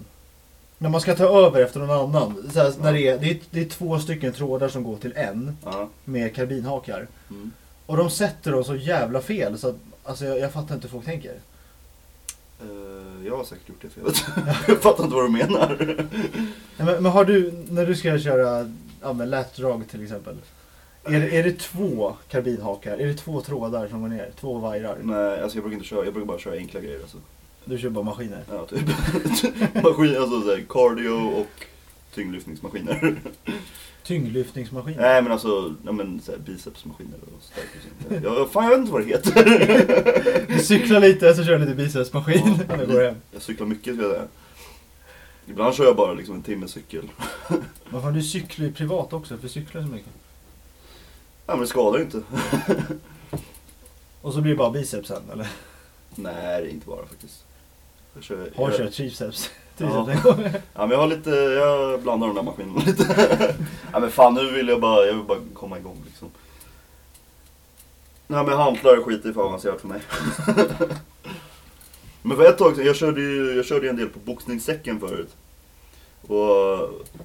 B: När man ska ta över efter någon annan. Så här, när det, är, det, är, det är två stycken trådar som går till en
A: Ja.
B: med karbinhakar.
A: Mm.
B: Och de sätter dem så jävla fel så att alltså, jag, jag fattar inte hur folk tänker.
A: Eh, jag har säkert gjort det felet. (laughs) jag fattar inte vad du menar.
B: Nej, Men, men har du, när du ska köra ja, men lätdrag till exempel. Är det, är det två karbinhakar? Är det två trådar som går ner? Två vajrar?
A: Nej, alltså jag brukar inte köra. Jag brukar bara köra enkla grejer. Alltså.
B: Du kör bara maskiner?
A: Ja, typ. (laughs) Maskin, alltså så här, cardio och tyngdlyftningsmaskiner.
B: Tyngdlyftningsmaskiner?
A: Nej men alltså, ja, men, så här, bicepsmaskiner och stärkelser. Jag, fan jag vet inte vad det heter.
B: Du cyklar lite, så kör du lite bicepsmaskin.
A: Ja.
B: när du går hem.
A: Jag cyklar mycket ska jag säga. Ibland kör jag bara liksom en timme cykel.
B: Men fan, du cyklar ju privat också, för du cyklar så mycket.
A: Ja men det skadar ju inte.
B: Och så blir det bara biceps sen, eller?
A: Nej det är inte bara faktiskt. Jag kör,
B: Har
A: jag,
B: kört triceps.
A: Ja.
B: triceps ja.
A: Ja men jag har lite, jag blandar de där maskinerna lite. ja men fan nu vill jag bara, jag vill bara komma igång liksom. Nej men hantlar och skit är för avancerat för mig. (laughs) men för ett tag sedan, jag körde ju jag körde ju en del på boxningssäcken förut. Och,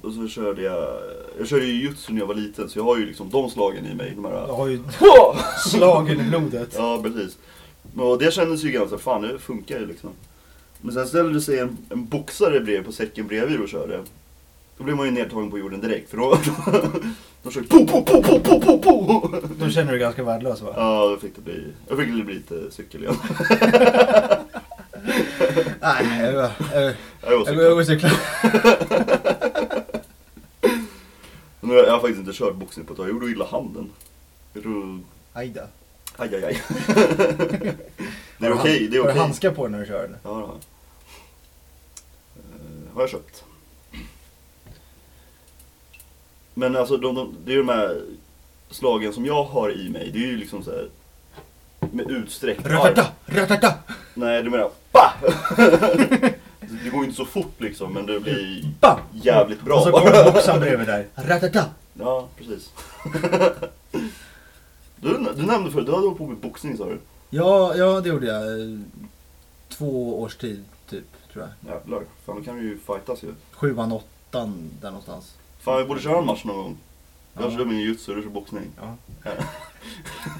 A: och så körde jag, jag körde ju jutsu när jag var liten så jag har ju liksom de slagen i mig. De här,
B: Jag har ju
A: (laughs)
B: slagen i blodet.
A: Ja, precis. Och det kändes ju ganska, fan det funkar ju liksom. Men sen ställde sig en, en boxare bredvid på säcken bredvid och körde. Då blev man ju nedtagen på jorden direkt för då... (laughs) De körde po, po, po, po, po, po, po.
B: Då känner du dig ganska värdelös va?
A: Ja, då fick det bli, jag fick det bli lite cykel igen. (laughs)
B: Nej, jag, jag, jag,
A: Jag var
B: jag, jag går
A: cykel.
B: och cyklar.
A: Nu har jag- jag har faktiskt inte kört boxning på ett tag, jag gjorde illa handen. Jag tror...
B: Aj då.
A: Aj, aj, (laughs) aj. Det är
B: Har
A: okej,
B: du hand-
A: det är
B: Har
A: okej.
B: du handskar på dig när du kör eller?
A: Ja, det har jag. Eh, har jag köpt. Men alltså, de, de, det är ju de här slagen som jag har i mig. Det är ju liksom så här med utsträckt arm.
B: Ratata, ratata,
A: Nej, du menar ba! (laughs) det går ju inte så fort liksom, men det blir
B: bam!
A: jävligt bra.
B: Och så kommer boxaren bredvid dig. Ratata.
A: Ja, precis. (laughs) du, du nämnde förut, du hade hållit på med boxning sa du.
B: Ja, ja, det gjorde jag. eh, Två års tid, typ, tror jag.
A: Jävlar, fan då kan vi ju fightas ju.
B: Sjuan, åttan, där någonstans.
A: Fan vi borde köra en match någon gång. Jag
B: Ja.
A: kör min jutsu och du kör boxning.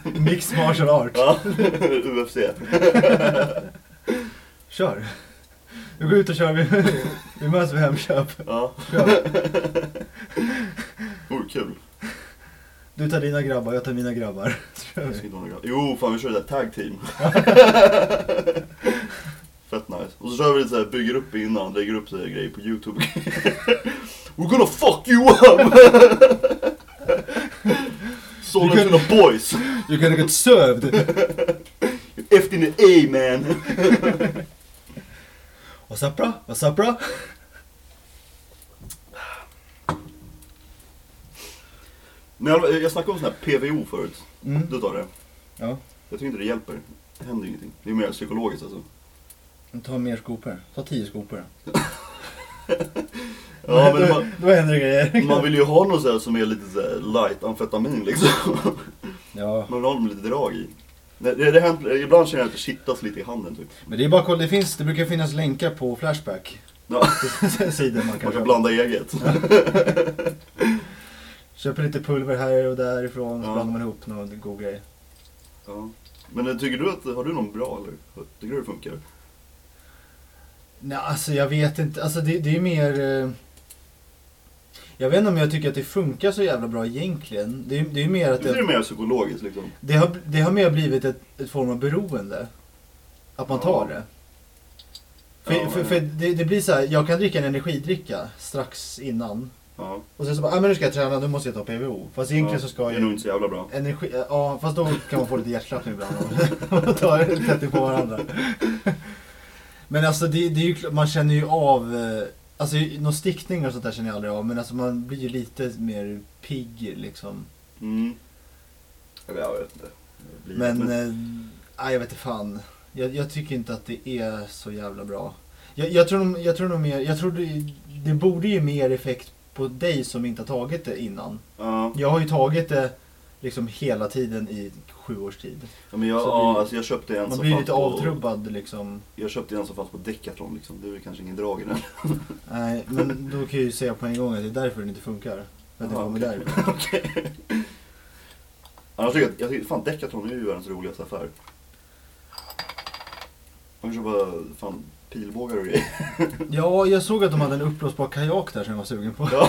B: (laughs) Mix
A: (laughs)
B: martial art.
A: Ja, UFC.
B: Kör. Vi går ut och kör, vi, (laughs) vi möts vid Hemköp.
A: Ja.
B: Kör.
A: (laughs) Oh, kul.
B: Du tar dina grabbar, jag tar mina grabbar. Så kör
A: Jag ska
B: vi.
A: inte ha några- Jo, fan vi kör det där tag
B: (laughs)
A: team. Fett nice. Och så kör vi lite såhär, bygger upp innan, lägger upp så här grejer på YouTube. (laughs) We're gonna fuck you up! (laughs) Sollentuna boys!
B: You're gonna get served!
A: Efter in A man!
B: What's up bra? What's up bra?
A: Men jag, jag snackade om sån här PVO förut.
B: Mm.
A: Du tar det.
B: Ja,
A: Jag tycker inte det hjälper. Det händer ingenting. Det är mer psykologiskt alltså.
B: ta mer skopor. Ta tio skopor.
A: Ja,
B: då,
A: men man,
B: då händer (laughs) det grejer.
A: man vill ju ha något så här som är lite så här light amfetamin liksom. (laughs)
B: Ja.
A: Man vill ha dem lite drag i. Det, det, det händer, ibland känner jag att det kittas lite i handen typ.
B: Men det är bara att kolla, det, finns, det brukar finnas länkar på (laughs) Flashback.
A: Ja,
B: Sidan man kan
A: man kan
B: köpa.
A: blanda
B: (laughs)
A: eget.
B: Köper lite pulver här och därifrån, så
A: Ja.
B: blandar man ihop någon god grej.
A: Ja. Men eh, tycker du att, har du någon bra eller? Tycker du det funkar?
B: Nej, alltså jag vet inte. Alltså det, det är mer... eh, Jag vet inte om jag tycker att det funkar så jävla bra egentligen. Det är, det är mer att
A: Det är
B: det,
A: mer psykologiskt liksom.
B: det, har, det har mer blivit ett, ett form av beroende. Att man tar
A: Ja.
B: det. För,
A: Ja,
B: för,
A: men-
B: för det, det blir så här, jag kan dricka en energidricka strax innan.
A: Ja.
B: Och sen så bara, ah, men nu ska jag träna, nu måste jag ta PVO. Fast egentligen
A: Ja,
B: så
A: Det
B: ska
A: är nog
B: jag
A: inte så jävla bra.
B: Energi, eh, ja fast då kan man få lite hjärtklappning ibland om man tar tätt på varandra. Men alltså det, det är ju, klart- man känner ju av, eh, alltså någon stickning och sånt där känner jag aldrig av men alltså man blir ju lite mer pigg liksom.
A: Mm. Eller jag vet inte. Det blir-
B: Men, eh, nej, jag vet inte fan. Jag, jag tycker inte att det är så jävla bra. Jag, jag tror nog- jag tror nog mer, jag tror det, det borde ju mer effekt på dig som inte har tagit det innan.
A: Ja.
B: Jag har ju tagit det liksom hela tiden i sju års tid.
A: Ja, men jag,
B: Så
A: ja,
B: blir-
A: alltså jag köpte en
B: Man
A: som
B: blir
A: fanns
B: lite
A: på-
B: avtrubbad liksom.
A: Jag köpte en som fanns på Decathlon liksom. Det är väl kanske ingen drag i den.
B: Nej, men då kan jag ju säga på en gång att det är därför den inte funkar. För att det
A: Aha,
B: kommer
A: okej.
B: där.
A: (laughs) Okej. Annars tycker jag, jag tycker, fan Decathlon är ju världens roligaste affär. Man kan köpa fan pilbågar och
B: (laughs)
A: grejer.
B: Ja, jag såg att de hade en uppblåsbar kajak där som jag var sugen på.
A: Ja,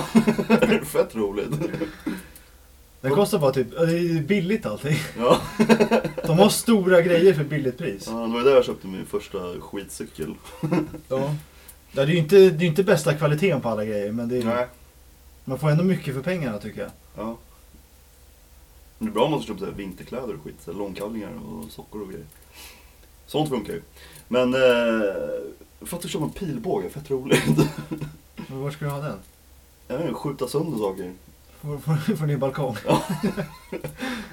A: fett roligt.
B: Den kostar bara typ, ja, det är billigt allting.
A: Ja.
B: De har stora grejer för billigt pris.
A: Ja, det var ju där jag köpte min första skitcykel.
B: Ja. Ja, det är ju inte, det är ju inte bästa kvaliteten på alla grejer, men det är,
A: Nej.
B: man får ändå mycket för pengarna tycker jag.
A: Ja. Men det är bra om man ska köpa så här vinterkläder och skit, så här långkallingar och sockor och grejer. Sånt funkar ju. Men eh, för att du köpa en pilbåge, fett roligt. (laughs)
B: Men var ska du ha den?
A: Jag vet inte, skjuta sönder saker.
B: Får, får, får ni en balkong?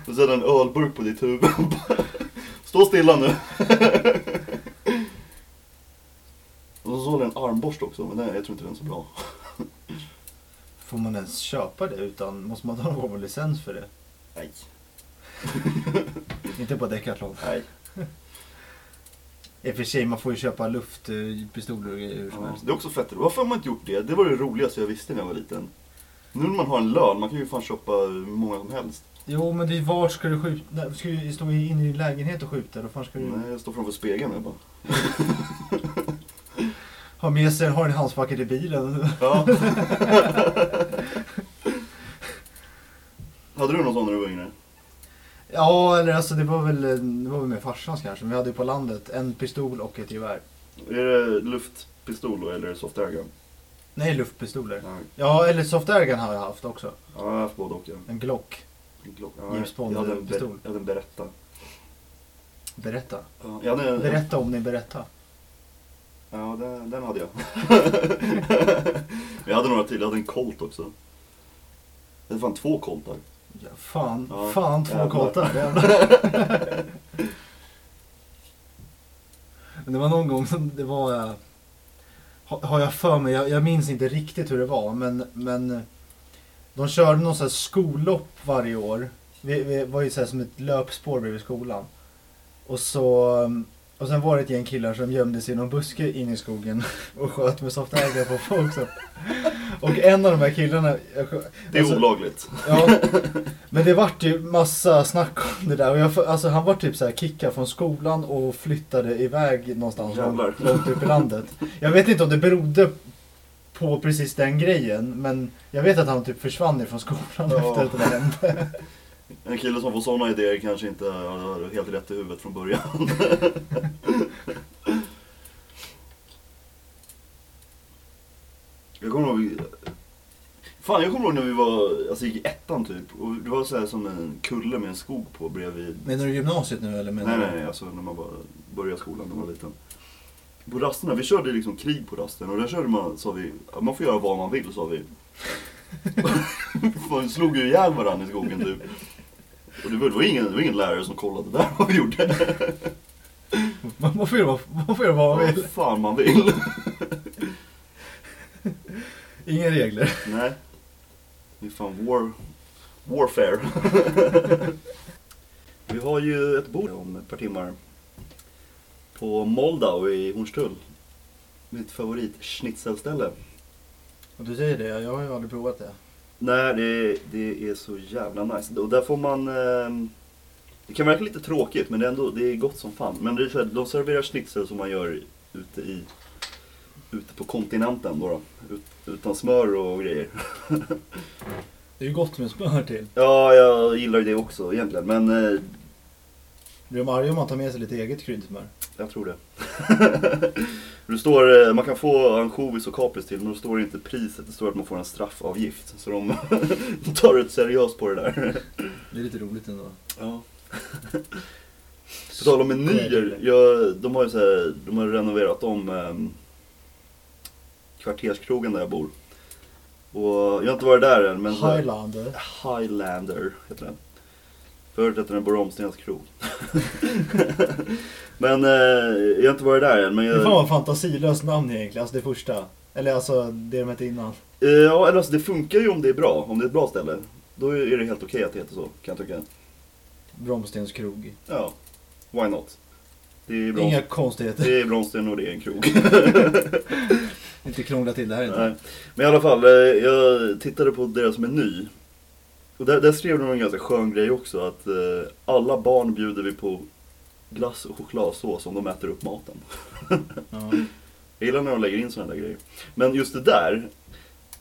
A: Och sen en ölburk på ditt huvud. (laughs) Stå stilla nu. (laughs) Och så såg jag en armborst också, men den, jag tror inte den är så bra.
B: Får man ens köpa det utan, måste man ta någon form av licens för det?
A: Nej.
B: Inte på Decathlon.
A: Nej.
B: I och för sig, man får ju köpa luftpistoler och grejer hur som
A: Ja,
B: helst.
A: det är också fett roligt. Varför har man inte gjort det? Det var det roligaste jag visste när jag var liten. Nu när man har en lön, man kan ju fan köpa hur många som helst.
B: Jo, men det är vart ska du skjuta? Nej, Ska du stå inne i din lägenhet och skjuta? Då fan ska du
A: Nej, jag står framför spegeln
B: (laughs)
A: jag bara.
B: ha med sig, ha en handskfacket i bilen. (laughs)
A: Ja. (laughs) Hade du någon sån när du var yngre?
B: Ja, eller alltså det var väl, det var väl med farsans kanske. Vi hade ju på landet en pistol och ett gevär.
A: Är det luftpistol då, eller är det soft airgun?
B: Nej, luftpistoler.
A: Nej.
B: Ja, eller soft airgun har jag haft också.
A: Ja, jag har haft både och. Ja.
B: En Glock.
A: En Glock. Ja,
B: James Bond
A: jag, hade en ber-
B: pistol.
A: jag hade en Beretta.
B: Berätta.
A: Ja, jag hade en,
B: Berätta om ni berätta.
A: Ja, den, den
B: (laughs)
A: hade jag. Men jag hade några till. Jag hade en Colt också. Det fanns två Coltar.
B: Ja, fan,
A: Ja,
B: fan två
A: jävlar. (laughs)
B: koltar. jävlar. Men det var någon gång som det var... eh, ha- Har jag för mig, jag, jag minns inte riktigt hur det var men, men eh, de körde någon sån här skollopp varje år. Vi, vi var ju så här som ett löpspår bredvid skolan. Och så... eh, Och sen var det ett gäng (laughs) killar som gömde sig i någon buske inne i skogen och sköt med soft airgun på folk. Så. Och en av de här killarna... jag-
A: Det är
B: alltså,
A: olagligt.
B: (laughs) Ja, men det vart ju massa snack om det där. Och jag, alltså, han var typ så här kickad från skolan och flyttade iväg någonstans
A: Jävlar.
B: långt, långt upp i landet. Jag vet inte om det berodde på precis den grejen, men jag vet att han typ försvann ifrån skolan (laughs)
A: Ja.
B: efter att det där hände.
A: En kille som får sådana idéer kanske inte har helt rätt i huvudet från början. (laughs) jag kommer ihåg... Fan, jag kommer ihåg när vi var, alltså gick i ettan typ. Och det var så här som en kulle med en skog på bredvid.
B: Menar du gymnasiet nu eller menar
A: Nej,
B: du?
A: nej, nej, alltså när man bara började skolan när man var liten. På rasterna, vi körde liksom krig på rasten och där körde man, sa vi, man får göra vad man vill (laughs) sa vi. Man slog ju ihjäl varandra i skogen typ. Och det var, det var, ingen, det var ingen lärare som kollade där vad vi gjorde.
B: Man, man får göra (laughs) vad- man får göra vad man vill.
A: Vad fan man vill.
B: Inga regler.
A: Nej. Det är fan war, warfare. (laughs) vi har ju ett bord om ett par timmar. På Moldau i Hornstull. Mitt favorit schnitzelställe.
B: Och du säger det, jag har ju aldrig provat det.
A: Nej, det, det är så jävla nice. Och där får man... ehm, Det kan verka lite tråkigt, men det är, ändå, det är gott som fan. Men det är så här, de serverar schnitzel som man gör ute, i, ute på kontinenten. Då då. Ut, utan smör och grejer.
B: Det är ju gott med smör till.
A: Ja, jag gillar ju det också egentligen, men eh,
B: Blir de arga om man tar med sig lite eget kryddsmör?
A: jag tror det. (laughs) det står, eh, man kan få ansjovis och kapris till, men då står det inte priset. Det står att man får en straffavgift. Så de, (laughs) de tar rätt seriöst på det där.
B: Det är lite roligt ändå.
A: Ja. (laughs) På tal om menyer, jag, de, har ju så här, de har renoverat om ehm, kvarterskrogen där jag bor. Och jag har inte varit där än men... så här-
B: Highlander.
A: Highlander heter den. Förut hette den Boromstens krog. (laughs) men eh, jag har inte varit där än. Men
B: Det är fan
A: jag,
B: vad fantasilöst namn egentligen, alltså det första. Eller alltså det de hette innan.
A: eh, ja, eller alltså, det funkar ju om det är bra, om det är ett bra ställe. Då är det helt okej att det heter så, kan jag tycka.
B: Bromstens krog.
A: Ja, why not? Det är Brom-
B: Inga konstigheter.
A: det är Bromsten och det är en krog.
B: Inte krångla till det här
A: Nej.
B: inte.
A: Men i alla fall, eh, jag tittade på deras meny. Och där, där skrev de en ganska skön grej också att eh, alla barn bjuder vi på glass och chokladsås om de äter upp maten.
B: Ja.
A: Jag gillar när de lägger in sådana där grejer. Men just det där,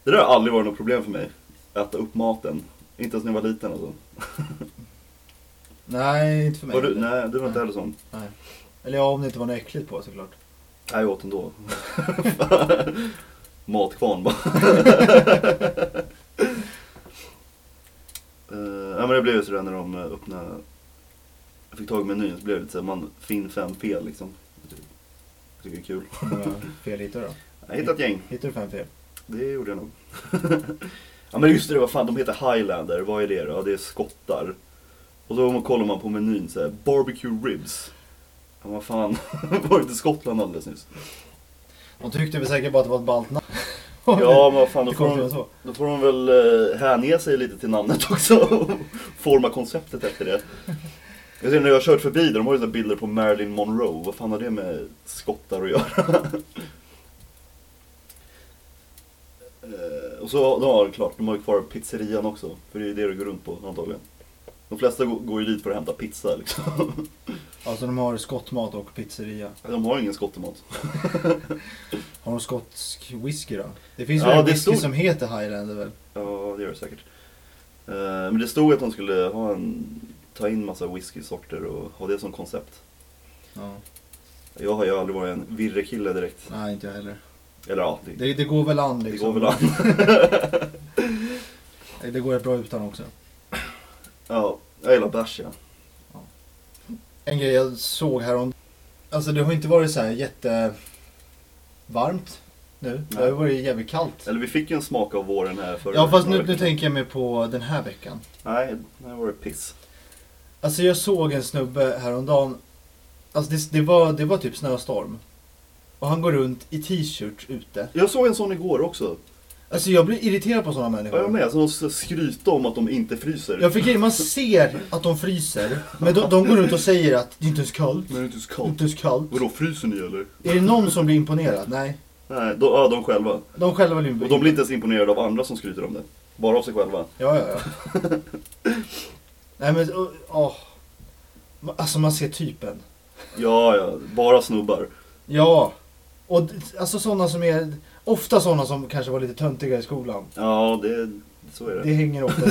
A: det där har aldrig varit något problem för mig. Äta upp maten. Inte ens när jag var liten alltså.
B: Nej, inte för mig.
A: Var du, nej, du var inte heller sån.
B: Nej. Eller ja, om det inte var något äckligt på såklart.
A: Nej, jag åt ändå. Matkvarn bara. uh, ja, men det blev ju sådär när de eh, öppnade... Jag fick tag i menyn så blev det lite såhär, man finn 5p liksom. Jag tycker det är kul.
B: Hur många fel hittade du då?
A: Jag hittade ett gäng,
B: Hittade du fem fel?
A: det gjorde jag nog. (laughs) ja men just det, vad fan de heter Highlander, vad är det då? Ja, det är skottar. Och då kollar man på menyn såhär, barbecue ribs. Ja vad fan, (laughs) var det inte Skottland alldeles nyss?
B: De tyckte väl säkert bara att det var ett ballt namn.
A: (laughs) Ja men vad fan, då
B: (laughs) det
A: får
B: kommer
A: de...
B: från så.
A: Då får de väl eh, hänge sig lite till namnet (laughs) också och forma konceptet efter det. Jag ser när jag har kört förbi där, de har ju så här bilder på Marilyn Monroe. Vad fan har det med skottar att göra? Eh, och så, ja klart, de har ju kvar pizzerian också. För det är ju det du går runt på antagligen. De flesta går- går ju dit för att hämta pizza liksom. (laughs)
B: Alltså de har skottmat och pizzeria.
A: De har ju ingen skottemat.
B: Har de skotsk whisky då? Det finns
A: Ja,
B: väl en
A: det
B: whisky
A: stod-
B: som heter Highlander väl?
A: Ja, det gör det säkert. Eh, men det stod att de skulle ha en, ta in massa whiskysorter och ha det som koncept.
B: Ja.
A: Jag har ju aldrig varit en virrekille direkt.
B: Nej, inte jag heller.
A: Eller ja, det,
B: Det, det går väl an
A: det
B: liksom.
A: går väl an. (laughs)
B: Det går rätt bra utan också.
A: Ja, jag gillar bärs ja.
B: En grej jag såg härom... Alltså det har inte varit så här jättevarmt nu. Det har
A: Nej.
B: ju varit jävligt kallt.
A: Eller vi fick ju en smak av våren här förra
B: Ja fast nu,
A: förra
B: nu
A: veckan.
B: tänker jag mig på den här veckan.
A: Nej, nu var det piss.
B: Alltså jag såg en snubbe häromdagen. Alltså det, det, var, det var typ snöstorm. Och han går runt i t-shirt ute.
A: Jag såg en sån igår också.
B: Alltså jag blir irriterad på sådana
A: Ja,
B: människor.
A: jag med. Som de skryta om att de inte fryser.
B: Jag fick man ser att de fryser. Men de, de går runt och säger att det är inte ens kallt.
A: Men det är inte så kallt.
B: Inte ens kallt.
A: Vadå, fryser ni eller?
B: Är det någon som blir imponerad? Nej.
A: Nej, de, ja, de själva.
B: De själva vill ju
A: Och de blir inte ens imponerade av andra som skryter om det. Bara av sig själva.
B: Ja, ja, ja.
A: (laughs)
B: Nej men, åh. åh. Ma- Alltså man ser typen.
A: Ja, ja. Bara snubbar.
B: Ja. Och d- alltså sådana som är, ofta sådana som kanske var lite töntiga i skolan.
A: Ja, det, så är
B: Det
A: det.
B: hänger ofta.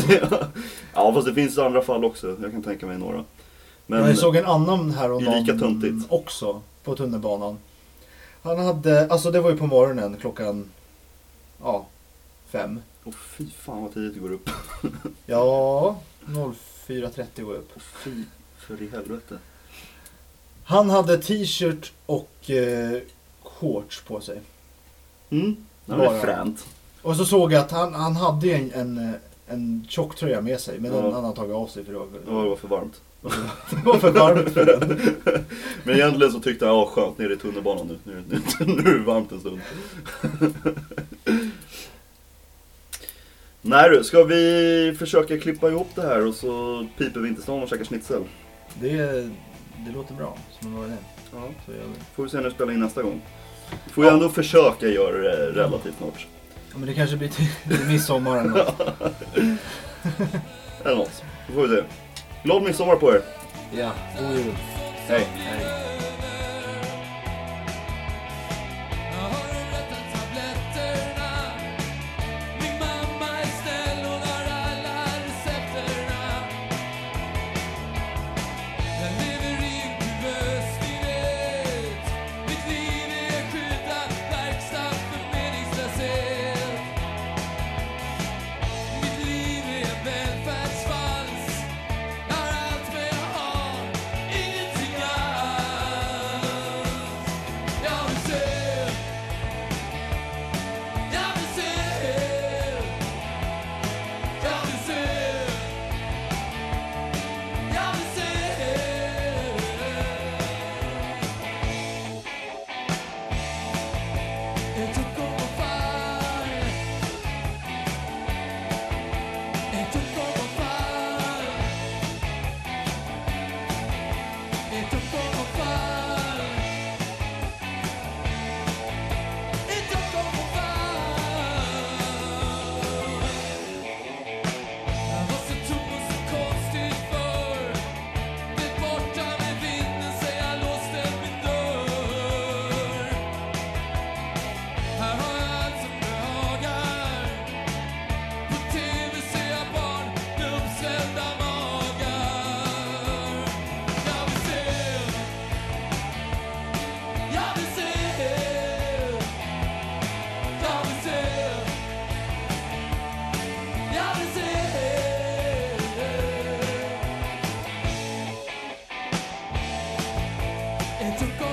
A: ja, fast det finns andra fall också. Jag kan tänka mig några. (laughs) Men,
B: Jag såg en annan häromdagen
A: Det är lika töntigt.
B: också på tunnelbanan. Han hade, alltså det var ju på morgonen klockan, ja, fem.
A: Åh, fy fan vad tidigt det går upp.
B: Ja, 04.30 går jag upp.
A: Åh, fy för i helvete.
B: Han hade t-shirt och eh, shorts på sig.
A: Mm, det var
B: Bara.
A: fränt.
B: Och så såg jag att han, han hade ju en, en, eh, en tjocktröja med sig, men
A: Ja.
B: den hade han tagit av sig för det var,
A: Ja, det var för varmt.
B: det (laughs) var för varmt för den.
A: Men egentligen så tyckte jag, ja skönt, nere i tunnelbanan nu. Nu, nu, (laughs) nu är det varmt en stund. Nej du, ska vi försöka klippa ihop det här och så piper vi inte stan och käkar schnitzel?
B: Det, det låter bra, som en bra idé.
A: Ja.
B: Så gör vi.
A: Får vi se när vi spelar in nästa gång. Får jag ändå försöka göra det relativt snart.
B: Ja, men det kanske blir till, till midsommar eller
A: (laughs)
B: något.
A: Eller något. Då får vi se. Glad midsommar på er!
B: Ja, god jul.
A: Hej!
B: Hej.
C: Har du rötat tabletterna? Min mamma är snäll, hon har alla recepterna. Jag lever i en kuvös, ni vet. Mitt liv är en skyltad verkstad för meningslöshet. Mitt liv är en välfärdsvals. Har allt men jag har ingenting alls. Jag vill se Jag vill se Jag vill se Jag vill se Jag tycker om att falla Jag tycker om att falla Jag tycker om att falla It's a global vibe. Jag var så tom och så konstig förr. Blev borta med vinden sen jag låste min dörr. Här har jag allt som behagar. På tv ser jag barn med uppsvällda magar. Jag vill se jag vill se Jag vill se Jag vill se Jag tycker